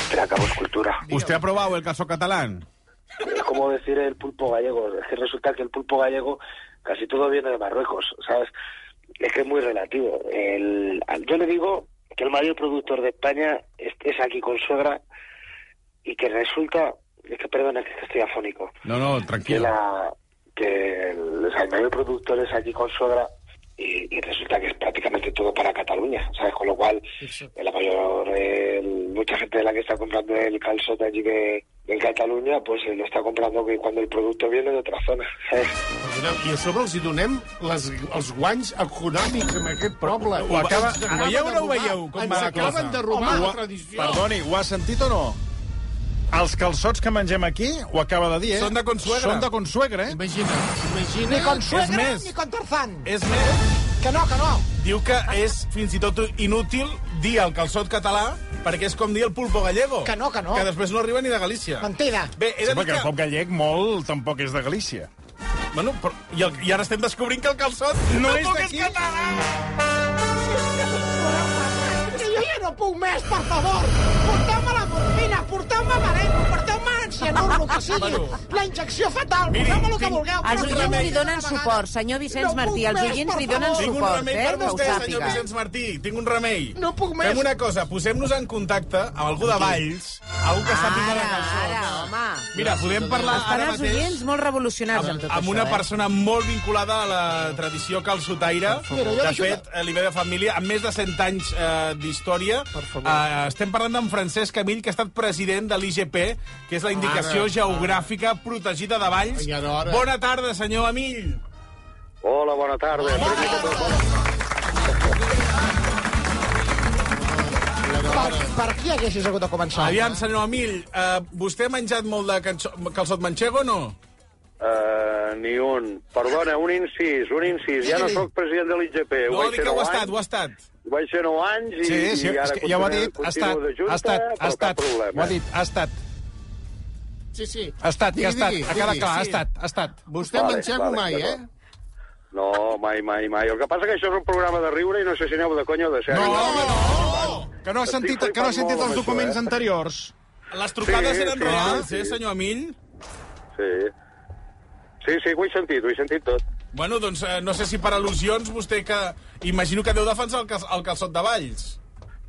[SPEAKER 6] Pero acabo es cultura.
[SPEAKER 2] ¿Usted ha probado el calçot catalán?
[SPEAKER 6] Es como decir el pulpo gallego. Es que resulta que el pulpo gallego casi todo viene de Marruecos, ¿sabes? Es que es muy relativo. El, al- yo le digo que el mayor productor de España es, es aquí con suegra y que resulta... Es que perdona, que estoy afónico.
[SPEAKER 2] No, no,
[SPEAKER 6] que,
[SPEAKER 2] tranquilo.
[SPEAKER 6] la, que el, o sea, el mayor productor es aquí con Sogra y, y resulta que es prácticamente todo para Cataluña, ¿sabes? Con lo cual, la mayor, eh, mucha gente de la que está comprando el calzón de allí de, de Cataluña, pues eh, lo está comprando que cuando el producto viene de otra zona, ¿sabes?
[SPEAKER 3] Perdoneu, I a sobre els hi donem les, els guanys econòmics en aquest poble.
[SPEAKER 2] Ho acaba-
[SPEAKER 3] Ens acaben
[SPEAKER 2] ho Ah, veieu o no
[SPEAKER 3] de
[SPEAKER 2] ho
[SPEAKER 3] robar-
[SPEAKER 2] veieu, com
[SPEAKER 3] Ah, Ens
[SPEAKER 2] va la
[SPEAKER 3] acaben
[SPEAKER 2] cosa?
[SPEAKER 3] de robar
[SPEAKER 1] Home,
[SPEAKER 3] la
[SPEAKER 1] ho-
[SPEAKER 3] tradició.
[SPEAKER 1] Perdoni, ho has sentit o no? Els calçots que mengem aquí, ho acaba de dir, eh?
[SPEAKER 2] Són de Consuegra.
[SPEAKER 1] Són de Consuegra, eh?
[SPEAKER 3] Imagina,
[SPEAKER 4] Ni
[SPEAKER 3] imagina...
[SPEAKER 4] con suegra
[SPEAKER 2] més.
[SPEAKER 4] ni con Tarzán.
[SPEAKER 2] És més,
[SPEAKER 4] Que no, que no.
[SPEAKER 2] diu que és fins i tot inútil dir el calçot català perquè és com dir el pulpo gallego.
[SPEAKER 4] Que no, que no.
[SPEAKER 2] Que després no arriba ni de Galícia.
[SPEAKER 4] Mentida.
[SPEAKER 2] Bé, he de
[SPEAKER 1] Sembla
[SPEAKER 2] dir
[SPEAKER 1] que el
[SPEAKER 2] que...
[SPEAKER 1] pop gallec molt tampoc és de Galícia.
[SPEAKER 2] Bueno, però... I, el... I ara estem descobrint que el calçot no és d'aquí.
[SPEAKER 4] Que jo ja no puc més, per favor. Porteu-me la morfina, porteu-me baremo, porteu-me ancianur, el que sigui. La injecció fatal,
[SPEAKER 2] Miri,
[SPEAKER 4] porteu-me el que
[SPEAKER 2] tinc-
[SPEAKER 4] vulgueu.
[SPEAKER 5] Els
[SPEAKER 4] però
[SPEAKER 5] oients li
[SPEAKER 4] una
[SPEAKER 5] donen
[SPEAKER 4] vegada.
[SPEAKER 5] suport, senyor Vicenç
[SPEAKER 4] No
[SPEAKER 5] Martí.
[SPEAKER 4] puc
[SPEAKER 5] Els
[SPEAKER 4] més,
[SPEAKER 5] oients
[SPEAKER 4] per
[SPEAKER 5] li donen
[SPEAKER 4] favor.
[SPEAKER 2] Tinc un
[SPEAKER 5] suport,
[SPEAKER 2] remei
[SPEAKER 5] eh?
[SPEAKER 2] per
[SPEAKER 5] Que ho
[SPEAKER 2] vostè, senyor
[SPEAKER 5] sàpiga.
[SPEAKER 2] Vicenç Martí. Tinc un remei.
[SPEAKER 4] No puc més.
[SPEAKER 2] Fem una cosa, posem-nos en contacte amb algú de Valls, algú que està picant
[SPEAKER 5] Ara,
[SPEAKER 2] a
[SPEAKER 5] ara,
[SPEAKER 2] calçot.
[SPEAKER 5] home.
[SPEAKER 2] Mira, podem parlar
[SPEAKER 5] Estan
[SPEAKER 2] ara
[SPEAKER 5] els
[SPEAKER 2] mateix
[SPEAKER 5] oients molt revolucionats amb
[SPEAKER 2] amb,
[SPEAKER 5] tot
[SPEAKER 2] amb
[SPEAKER 5] això,
[SPEAKER 2] una
[SPEAKER 5] eh?
[SPEAKER 2] persona molt vinculada a la tradició calçotaire.
[SPEAKER 4] Però jo
[SPEAKER 2] De
[SPEAKER 4] dic
[SPEAKER 2] fet, eh, li ve de família, amb més de 100 anys eh, d'història. Eh, estem parlant d'en Francesc Camil, que ha estat president de l'IGP, que és la Indicació Geogràfica Protegida de Valls.
[SPEAKER 3] Ja era hora.
[SPEAKER 2] Bona tarda, senyor Amill.
[SPEAKER 6] Hola, buena tarde.
[SPEAKER 4] Per, per qui haguessis hagut de començar?
[SPEAKER 2] Aviam, senyor Amill, eh, vostè ha menjat molt de canxo- calçot manxego o no?
[SPEAKER 6] Eh, ni un. Perdona, un incís, un incís. Ja no sóc president de l'IGP.
[SPEAKER 2] No, dic que ho ha estat, ho ha estat.
[SPEAKER 6] Vaig ser 9 anys
[SPEAKER 1] Sí, sí, és que ja ho ha dit, ha estat, ha estat, ha estat, ho ha dit, ha estat,
[SPEAKER 3] Sí, sí.
[SPEAKER 1] ha estat, que ha estat,
[SPEAKER 3] digui,
[SPEAKER 1] ha quedat
[SPEAKER 3] digui,
[SPEAKER 1] clar, ha
[SPEAKER 3] sí.
[SPEAKER 1] estat, ha estat.
[SPEAKER 3] Vostè
[SPEAKER 6] Vale,
[SPEAKER 3] menjar-ho
[SPEAKER 6] vale,
[SPEAKER 3] mai, eh?
[SPEAKER 6] d'acord. No, mai, mai, mai. El que passa que això és un programa de riure i no sé si aneu de conya o de sèrie.
[SPEAKER 1] No, home, no! Que no has
[SPEAKER 6] Estic
[SPEAKER 1] sentit, que no has
[SPEAKER 6] flipant
[SPEAKER 1] sentit
[SPEAKER 6] molt amb
[SPEAKER 1] els
[SPEAKER 6] això,
[SPEAKER 1] documents
[SPEAKER 6] eh?
[SPEAKER 1] anteriors.
[SPEAKER 2] Les trucades
[SPEAKER 6] Sí,
[SPEAKER 2] eren
[SPEAKER 6] sí,
[SPEAKER 2] reals,
[SPEAKER 6] sí,
[SPEAKER 2] eh,
[SPEAKER 6] sí.
[SPEAKER 2] senyor Amill?
[SPEAKER 6] Sí. Sí, sí, ho he sentit, ho he sentit tot.
[SPEAKER 2] Bueno, doncs eh, no sé si per al·lusions vostè que... Imagino que deu defensar el, cal el calçot de Valls.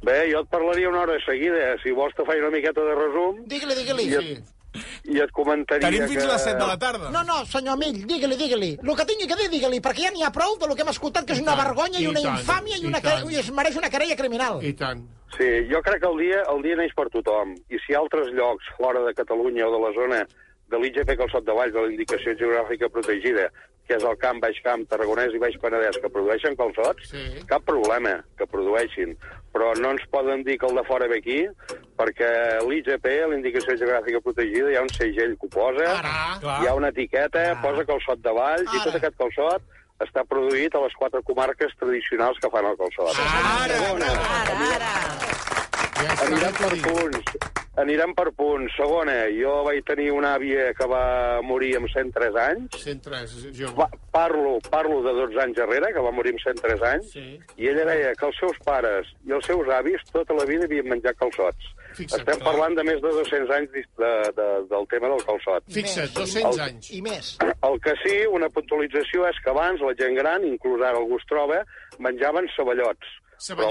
[SPEAKER 6] Bé, jo et parlaria una hora seguida. Si vols te faig una miqueta de resum
[SPEAKER 3] Digue-li, digue-li.
[SPEAKER 6] Sí. i et comentaria
[SPEAKER 2] Tenim fins
[SPEAKER 6] que...
[SPEAKER 2] a les 7 de la tarda.
[SPEAKER 4] No, no, senyor Mill, digue-li, digue-li. El que tingui que dir, digue-li, perquè ja n'hi ha prou del que hem escoltat, que és una
[SPEAKER 3] tant,
[SPEAKER 4] vergonya i
[SPEAKER 3] i
[SPEAKER 4] una
[SPEAKER 3] tant,
[SPEAKER 4] infàmia i
[SPEAKER 3] i
[SPEAKER 4] una
[SPEAKER 3] tant.
[SPEAKER 4] i es mereix una querella criminal.
[SPEAKER 3] I tant.
[SPEAKER 6] Sí, jo crec que el dia, el dia neix per tothom. I si altres llocs, fora de Catalunya o de la zona de l'IGP Calçot de Valls, de l'Indicació Geogràfica Protegida, que és el camp, baix camp, Tarragonès i Baix Penedès, que produeixen calçots,
[SPEAKER 3] Sí.
[SPEAKER 6] cap problema que produeixin. Però no ens poden dir que el de fora ve aquí, perquè l'IGP, l'Indicació Geogràfica Protegida, hi ha un segell que ho posa,
[SPEAKER 2] clar.
[SPEAKER 6] hi ha una etiqueta, posa calçot de Valls, i tot aquest calçot està produït a les quatre comarques tradicionals que fan el calçot.
[SPEAKER 2] Ara,
[SPEAKER 6] Segona,
[SPEAKER 5] Ara, ara.
[SPEAKER 3] Ja està.
[SPEAKER 6] aniran per punts. Anirem per punts. Segona, jo vaig tenir una àvia que va Eh, morir amb 103 anys.
[SPEAKER 3] 103, jo.
[SPEAKER 6] Pa parlo, parlo de 12 anys darrere, que va morir amb 103 anys,
[SPEAKER 3] Sí.
[SPEAKER 6] i ella deia que els seus pares i els seus avis tota la vida havien menjat calçots.
[SPEAKER 3] Fixa't,
[SPEAKER 6] Estem
[SPEAKER 3] clar.
[SPEAKER 6] parlant de més de 200 anys dis- de, de, del tema del calçot.
[SPEAKER 3] Fixa't, 200 anys.
[SPEAKER 4] I més.
[SPEAKER 6] El que sí, una puntualització és que abans la gent gran, inclús ara algú es troba, menjaven ceballots.
[SPEAKER 3] Ceballot.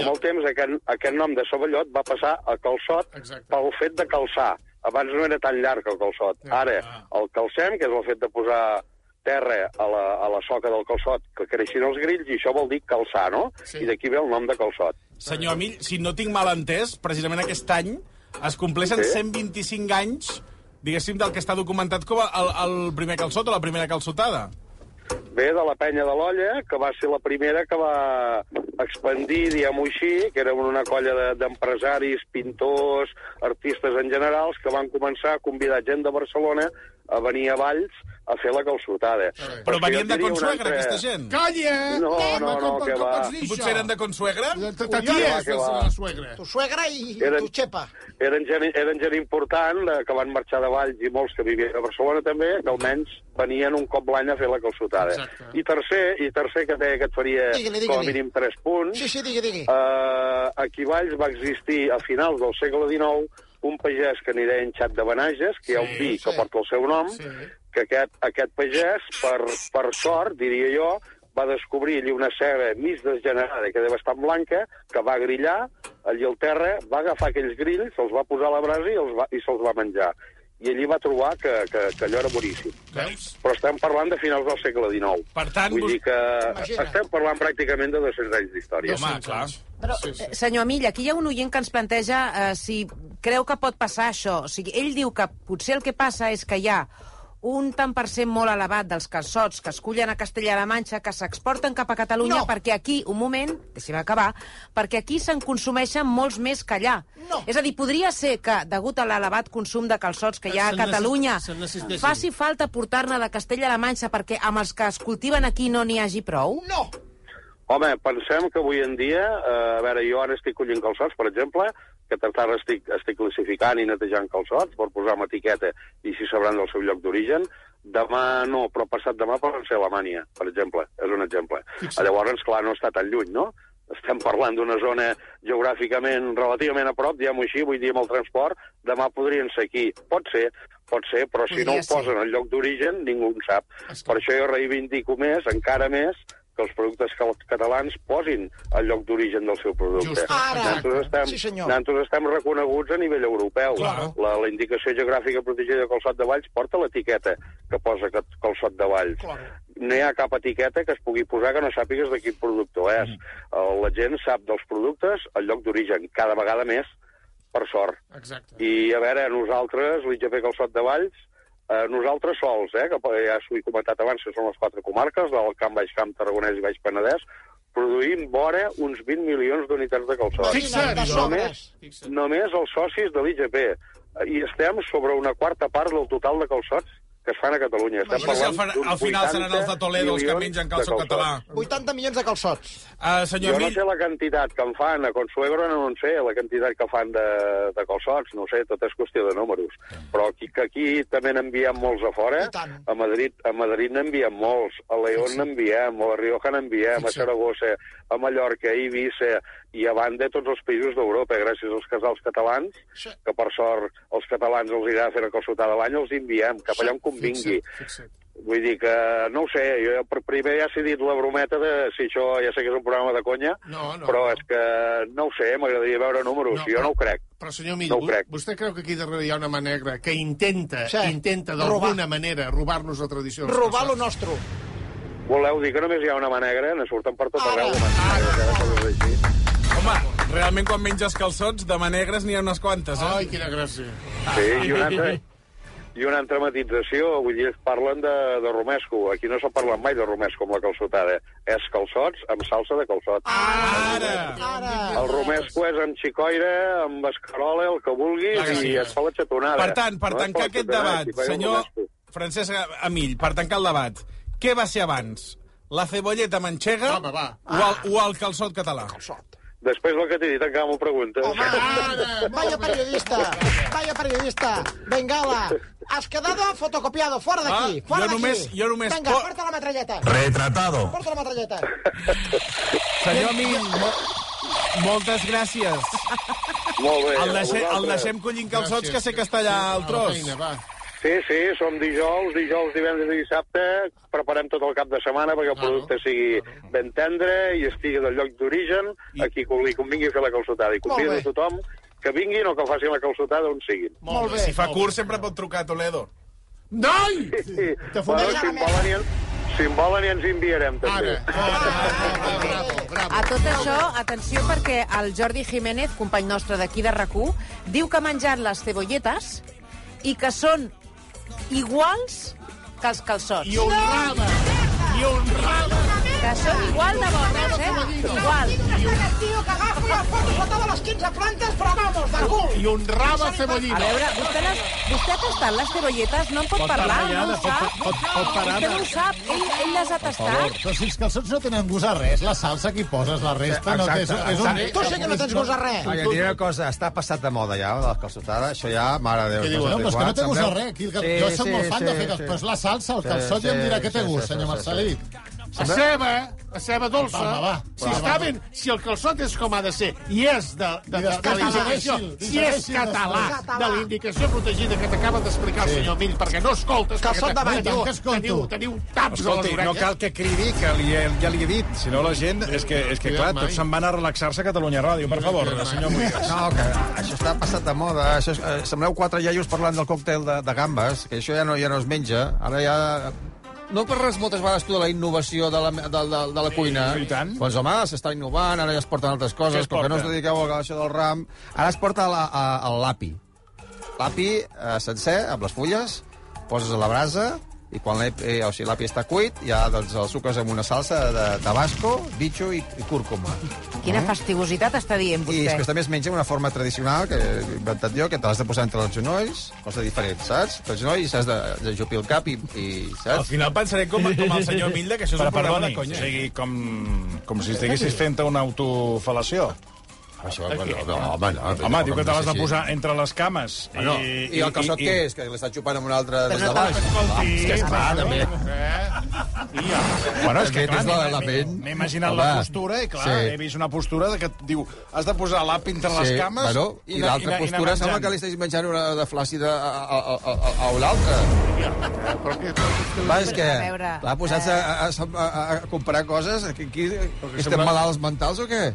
[SPEAKER 6] Però amb el temps aquest, aquest nom de ceballot va passar a calçot
[SPEAKER 3] Exacte.
[SPEAKER 6] pel fet de calçar. Abans no era tan llarg el calçot.
[SPEAKER 3] Ja,
[SPEAKER 6] Ara,
[SPEAKER 3] ah.
[SPEAKER 6] el calcem, que és el fet de posar terra a la, a la soca del calçot, que creixin els grills, i això vol dir calçar, no?
[SPEAKER 3] Sí.
[SPEAKER 6] I d'aquí ve el nom de calçot.
[SPEAKER 2] Senyor Amill, si no tinc mal entès, precisament aquest any es compleixen
[SPEAKER 6] Sí.
[SPEAKER 2] 125 anys, diguéssim, del que està documentat com el, el primer calçot o la primera calçotada.
[SPEAKER 6] Ve de la penya de l'Olla, que va ser la primera que va expandir, diguem-ho així, que era una colla de- d'empresaris, pintors, artistes en generals, que van començar a convidar gent de Barcelona a venir a Valls a fer la calçotada.
[SPEAKER 2] Però
[SPEAKER 6] és que
[SPEAKER 2] venien
[SPEAKER 6] jo
[SPEAKER 2] de
[SPEAKER 6] diria una
[SPEAKER 2] Consuegra,
[SPEAKER 6] altra-
[SPEAKER 2] aquesta gent.
[SPEAKER 3] Calla, eh?
[SPEAKER 6] No,
[SPEAKER 3] Home,
[SPEAKER 6] no, no,
[SPEAKER 3] com-
[SPEAKER 6] que
[SPEAKER 3] com
[SPEAKER 6] va.
[SPEAKER 3] pots dir això?
[SPEAKER 2] Potser eren de Consuegra?
[SPEAKER 3] Ta- Ta tia és
[SPEAKER 6] que
[SPEAKER 3] la,
[SPEAKER 6] va.
[SPEAKER 3] la suegra.
[SPEAKER 4] Tu suegra i, i
[SPEAKER 6] Eren-
[SPEAKER 4] tu xepa.
[SPEAKER 6] Eren gent, eren gent important, eh, que van marxar de Valls i molts que vivien a Barcelona també, que almenys venien un cop l'any a fer la calçotada.
[SPEAKER 3] Exacte.
[SPEAKER 6] I tercer, i tercer que et deia que et faria
[SPEAKER 4] Digue-li, digue-li.
[SPEAKER 6] com a mínim 3 punts,
[SPEAKER 4] Sí, sí, digui, digui.
[SPEAKER 6] Eh, aquí a Valls va existir a finals del segle XIX un pagès que n'hi deien Xat de Benages, que sí, hi ha un vi sí. que porta el seu nom, sí. que aquest, aquest pagès, per, per sort, diria jo, va descobrir allí una ceba mig desgenerada, que era bastant blanca, que va grillar, allí al terra, va agafar aquells grills, se'ls va posar a la brasa i, els va, i se'ls va menjar. I allí va trobar que, que, que allò era boníssim.
[SPEAKER 2] Veus?
[SPEAKER 6] Però estem parlant de finals del segle XIX.
[SPEAKER 2] Per tant,
[SPEAKER 6] Vull
[SPEAKER 2] vos-
[SPEAKER 6] dir que
[SPEAKER 4] Imagina't.
[SPEAKER 6] estem parlant pràcticament de 200 anys d'història.
[SPEAKER 2] Home, clar.
[SPEAKER 5] Però, eh, senyor Amill, aquí hi ha un oient que ens planteja eh, si creu que pot passar això. O sigui, ell diu que potser el que passa és que hi ha un tant per cent molt elevat dels calçots que es cullen a Castella-la Manxa, que s'exporten cap a Catalunya,
[SPEAKER 4] No.
[SPEAKER 5] perquè aquí, un moment, deixi'm acabar, perquè aquí se'n consumeixen molts més que allà.
[SPEAKER 4] No.
[SPEAKER 5] És a dir, podria ser que, degut a l'elevat consum de calçots que hi ha a
[SPEAKER 3] Se'n necess-
[SPEAKER 5] Catalunya,
[SPEAKER 3] se'n necessitessin.
[SPEAKER 5] faci falta portar-ne de Castella-la Manxa perquè amb els que es cultiven aquí no n'hi hagi prou?
[SPEAKER 4] No.
[SPEAKER 6] Home, pensem que avui en dia, eh, a veure, jo ara estic collint calçots, per exemple, que tant ara estic, estic classificant i netejant calçots per posar una etiqueta i si sabran del seu lloc d'origen. Demà no, però passat demà poden ser a Alemanya, per exemple. És un exemple. Llavors, clar, no està tan lluny, no? Estem parlant d'una zona geogràficament relativament a prop, diguem-ho així, vull dir, amb el transport, demà podrien ser aquí. Pot ser, pot ser, però si
[SPEAKER 5] Podria
[SPEAKER 6] no ho
[SPEAKER 5] ser.
[SPEAKER 6] posen al lloc d'origen, ningú en sap. Per això jo reivindico més, encara més, que els productes ca- catalans posin el lloc d'origen del seu producte.
[SPEAKER 3] Just,
[SPEAKER 4] Ara.
[SPEAKER 6] Nosaltres estem,
[SPEAKER 4] Sí, senyor.
[SPEAKER 6] nosaltres estem reconeguts a nivell europeu.
[SPEAKER 3] Claro.
[SPEAKER 6] La, la indicació geogràfica protegida de Calçot de Valls porta l'etiqueta que posa cal- Calçot de Valls.
[SPEAKER 4] Claro.
[SPEAKER 6] No hi ha cap etiqueta que es pugui posar que no sàpigues de quin productor és. Eh, La gent sap dels productes el lloc d'origen, cada vegada més, per sort.
[SPEAKER 3] Exacte.
[SPEAKER 6] I a veure, nosaltres, l'IGP Calçot de Valls, eh, nosaltres sols, eh, que ja s'ho he comentat abans, que són les quatre comarques, del Camp Baix Camp, Tarragonès i Baix Penedès, produïm vora uns 20 milions d'unitats de calçot.
[SPEAKER 3] Fixa't.
[SPEAKER 4] De sobres.
[SPEAKER 3] Fixa't.
[SPEAKER 6] Només els socis de l'IGP. I estem sobre una quarta part del total de calçots que es fan a Catalunya. Estem
[SPEAKER 2] Però si al,
[SPEAKER 6] parlant
[SPEAKER 2] fa-
[SPEAKER 6] d'uns
[SPEAKER 2] al final seran
[SPEAKER 6] 80
[SPEAKER 2] els de Toledo els que
[SPEAKER 6] milions
[SPEAKER 2] mengen
[SPEAKER 6] de
[SPEAKER 2] calçot
[SPEAKER 6] calçots.
[SPEAKER 2] català.
[SPEAKER 4] 80 milions de calçots.
[SPEAKER 2] Uh,
[SPEAKER 6] Jo
[SPEAKER 2] senyor
[SPEAKER 6] no
[SPEAKER 2] Amill,
[SPEAKER 6] sé la quantitat que en fan a Consuegro, no en sé, la quantitat que fan de, de calçots, no ho sé, tot és qüestió de números. Però aquí, que aquí també n'enviem molts a fora,
[SPEAKER 4] I tant.
[SPEAKER 6] a Madrid a Madrid n'enviem molts, a León n'enviem, a la Rioja n'enviem, a Saragossa, a Mallorca, a Eivissa, i a banda de tots els països d'Europa, eh? gràcies als casals catalans,
[SPEAKER 4] Sí.
[SPEAKER 6] que per sort els catalans els agrada fer una calçotada a l'any, els enviem cap allà on convingui.
[SPEAKER 3] Fixa't, fixa't.
[SPEAKER 6] Vull dir que, no ho sé, jo ja per primer ja s'he dit la brometa de si això ja sé que és un programa de conya,
[SPEAKER 3] No, no,
[SPEAKER 6] però
[SPEAKER 3] no.
[SPEAKER 6] és que no ho sé, m'agradaria veure números, jo
[SPEAKER 3] No, però-
[SPEAKER 6] no ho crec.
[SPEAKER 3] Però, senyor Mill,
[SPEAKER 6] No ho
[SPEAKER 3] vo-
[SPEAKER 6] crec.
[SPEAKER 3] vostè creu que aquí darrere hi ha una mà negra que intenta,
[SPEAKER 4] Sí.
[SPEAKER 3] sí. intenta d'alguna manera robar-nos la tradició? dels
[SPEAKER 4] Robar lo
[SPEAKER 3] calçots?
[SPEAKER 4] nostre.
[SPEAKER 6] Voleu dir que només hi ha una mà negra, ne surten per tot
[SPEAKER 2] Ah,
[SPEAKER 4] Ara.
[SPEAKER 6] arreu. Ara.
[SPEAKER 2] home, realment quan menges calçots, de manegres n'hi ha unes quantes, eh?
[SPEAKER 3] Ai, quina gràcia.
[SPEAKER 6] Sí,
[SPEAKER 2] Ah,
[SPEAKER 6] i una altra, i una altra matització, vull dir, ells parlen de, de romesco, aquí no s'ha parlat mai de romesco amb la calçotada, eh? és calçots amb salsa de calçot.
[SPEAKER 2] Ara!
[SPEAKER 4] Ara.
[SPEAKER 2] Ah,
[SPEAKER 6] El romesco és amb xicoira, amb escarola, el que vulguis,
[SPEAKER 2] Clar que sí.
[SPEAKER 6] i es fa la xatonada.
[SPEAKER 2] Per tant, per
[SPEAKER 6] No es fa
[SPEAKER 2] tancar
[SPEAKER 6] la
[SPEAKER 2] aquest
[SPEAKER 6] xatonada,
[SPEAKER 2] debat,
[SPEAKER 6] xicoira amb
[SPEAKER 2] senyor
[SPEAKER 6] romesco.
[SPEAKER 2] Francesc Amill, per tancar el debat, què va ser abans? La cebolleta manxega
[SPEAKER 3] Home, va.
[SPEAKER 2] o el, o el calçot català?
[SPEAKER 8] Després del que t'he dit encara m'ho preguntes.
[SPEAKER 4] Home, vaya periodista, vaya periodista. Bengala, has quedado fotocopiado, fuera de aquí,
[SPEAKER 2] Ah,
[SPEAKER 4] fuera
[SPEAKER 2] jo
[SPEAKER 4] de
[SPEAKER 2] només-
[SPEAKER 4] aquí.
[SPEAKER 2] jo només
[SPEAKER 4] Venga,
[SPEAKER 2] po-
[SPEAKER 4] porta la metralleta,
[SPEAKER 9] Retratado.
[SPEAKER 4] porta la metralleta.
[SPEAKER 2] Senyor Min, mo- moltes gràcies.
[SPEAKER 8] Molt bé.
[SPEAKER 2] El deixem,
[SPEAKER 8] a
[SPEAKER 2] el
[SPEAKER 8] vosaltres.
[SPEAKER 2] deixem collint calçots, que sé que està allà al
[SPEAKER 3] A la
[SPEAKER 2] tros.
[SPEAKER 3] feina, va.
[SPEAKER 8] Sí, sí, som dijous, dijous, divendres i dissabte. Preparem tot el cap de setmana perquè el producte sigui ben tendre i estigui del lloc d'origen, a qui li convingui fer la calçotada. I convido
[SPEAKER 4] bé.
[SPEAKER 8] a tothom que vinguin o que facin la calçotada on siguin.
[SPEAKER 3] Molt bé.
[SPEAKER 2] Si fa curt, sempre pot trucar a Toledo.
[SPEAKER 3] Noi!
[SPEAKER 8] Sí.
[SPEAKER 3] Te
[SPEAKER 8] Bueno,
[SPEAKER 3] fotré...
[SPEAKER 8] si en volen, i en- si en volen i ens enviarem, també.
[SPEAKER 3] Ara, ara, ara, bravo, bravo.
[SPEAKER 5] A tot això, atenció, perquè el Jordi Jiménez, company nostre d'aquí de rac diu que ha menjat les cebolletes i que són iguals que els calçots.
[SPEAKER 3] I honrada. I honrada.
[SPEAKER 5] Que són igual de bones, eh? Igual.
[SPEAKER 4] El tío que agafa las fotos a todas las 15 plantas, pero vamos, de cul.
[SPEAKER 3] I honrada Cebollino.
[SPEAKER 5] A veure, vostè, les, vostè ha tastat les cebolletes? No en pot, parlar,
[SPEAKER 10] parlar,
[SPEAKER 5] no ho
[SPEAKER 10] pot-
[SPEAKER 5] sap.
[SPEAKER 10] pot- pot parar,
[SPEAKER 5] vostè no
[SPEAKER 10] Anna.
[SPEAKER 5] ho sap, ell, ell les ha tastat.
[SPEAKER 10] Però si els calçots no tenen gust a res, la salsa que hi poses, la
[SPEAKER 11] Eh,
[SPEAKER 10] resta no té... És, és un...
[SPEAKER 4] Tu sí que no tens gust a res.
[SPEAKER 11] Ai, et diré una cosa, està passat de moda ja, de les calçotades, això ja, mare de Déu.
[SPEAKER 3] Què diu?
[SPEAKER 10] No, però és que no té
[SPEAKER 11] Sembleu-
[SPEAKER 10] gust a res. Aquí, el... sí, jo soc molt fan de fer calçots, però és la salsa, el calçot, ja em dirà què té gust, senyor Marcelí.
[SPEAKER 3] A ceba, a ceba dolça.
[SPEAKER 10] Va, va, va.
[SPEAKER 3] Si
[SPEAKER 10] Va, va,
[SPEAKER 3] està
[SPEAKER 10] va.
[SPEAKER 3] ben, si el calçot és com ha de ser i és de,
[SPEAKER 10] I
[SPEAKER 3] de, de, de
[SPEAKER 10] després
[SPEAKER 3] la
[SPEAKER 10] segueixi,
[SPEAKER 3] indicació,
[SPEAKER 10] i
[SPEAKER 3] si és
[SPEAKER 10] segueixi
[SPEAKER 3] català,
[SPEAKER 4] després.
[SPEAKER 3] de la indicació protegida que t'acaba d'explicar el senyor Mill, perquè no escoltes,
[SPEAKER 4] Calçot de bany,
[SPEAKER 10] tant
[SPEAKER 3] perquè
[SPEAKER 10] que
[SPEAKER 3] teniu,
[SPEAKER 10] escolto.
[SPEAKER 3] teniu, teniu taps a les
[SPEAKER 1] Escolti, no
[SPEAKER 3] orelles.
[SPEAKER 1] cal que cridi, que li, he- ja li he dit. Si no, la gent... És que, és que clar, tots se'n van a relaxar-se a Catalunya Ràdio. Per favor, senyor Moïgas.
[SPEAKER 11] No, que això està passat de moda. Això és, eh, sembleu quatre iaios parlant del còctel de, de gambes, que això ja no, ja no es menja. Ara ja... No parles moltes vegades tu de la innovació de la, de, de, de la cuina.
[SPEAKER 1] i tant.
[SPEAKER 11] Doncs home, s'està innovant, ara ja es porten altres
[SPEAKER 1] Què
[SPEAKER 11] coses,
[SPEAKER 1] es
[SPEAKER 11] com que no
[SPEAKER 1] porta?
[SPEAKER 11] us dediqueu a això del ram. Ara es porta la, a, el lapi. L'api eh, sencer, amb les fulles, poses a la brasa, i quan l'api eh, o sigui, l'api està cuit, ja doncs, el suques amb una salsa de tabasco, bitxo i, i cúrcuma.
[SPEAKER 5] Quina fastigositat està dient
[SPEAKER 11] I després
[SPEAKER 5] vostè.
[SPEAKER 11] també es menja una forma tradicional que he inventat jo, que te l'has de posar entre els genolls, cosa diferent, saps? Entre els genolls i s'has de, de jupir el cap i, i
[SPEAKER 2] Al
[SPEAKER 11] saps?
[SPEAKER 2] final pensaré com, com el senyor Milda, que això és
[SPEAKER 1] Però
[SPEAKER 2] un programa de eh?
[SPEAKER 1] perdoni, o
[SPEAKER 2] conya.
[SPEAKER 1] sigui, com, com si estiguessis fent una autofalació.
[SPEAKER 2] Ah,
[SPEAKER 11] Això, bueno, no, home, no.
[SPEAKER 1] Home, diu que te l'has de posar entre les cames.
[SPEAKER 11] Ah, no. I, I el calçot què és? Que l'està xupant amb un altre des de baix?
[SPEAKER 1] Escolti...
[SPEAKER 11] És Ah, que eh. és clar, també.
[SPEAKER 1] Bueno, és
[SPEAKER 11] També
[SPEAKER 1] que clar,
[SPEAKER 11] tens
[SPEAKER 1] m'he-
[SPEAKER 11] l'element.
[SPEAKER 1] m'he imaginat
[SPEAKER 11] Home.
[SPEAKER 1] la postura i clar,
[SPEAKER 11] Sí.
[SPEAKER 1] he vist una postura de que et diu has de posar l'app entre les
[SPEAKER 11] Sí,
[SPEAKER 1] cames
[SPEAKER 11] bueno, i
[SPEAKER 1] anar-
[SPEAKER 11] l'altra
[SPEAKER 1] anar- anar
[SPEAKER 11] postura sembla
[SPEAKER 1] menjant.
[SPEAKER 11] que li estàs menjant una de flàcida a, a, a, a, a l'altra. Va, és que...
[SPEAKER 5] A veure, eh,
[SPEAKER 11] Va, posats a, a, a, a comparar coses... Aquí, aquí, estem malalts mentals o què?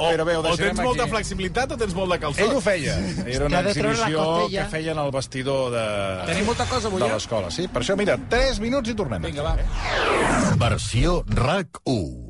[SPEAKER 2] O,
[SPEAKER 1] Però bé, ho
[SPEAKER 2] o
[SPEAKER 1] deixarem
[SPEAKER 2] tens molta
[SPEAKER 1] aquí.
[SPEAKER 2] flexibilitat o tens molt de calçot.
[SPEAKER 1] Ell ho feia. Era una
[SPEAKER 10] Que de treure la
[SPEAKER 1] exhibició
[SPEAKER 10] costella.
[SPEAKER 1] que feien al vestidor de,
[SPEAKER 10] Tenim molta cosa avui,
[SPEAKER 1] eh? de l'escola. Sí, per això, mira, 3 minuts i tornem. Vinga, va.
[SPEAKER 9] Versió RAC 1.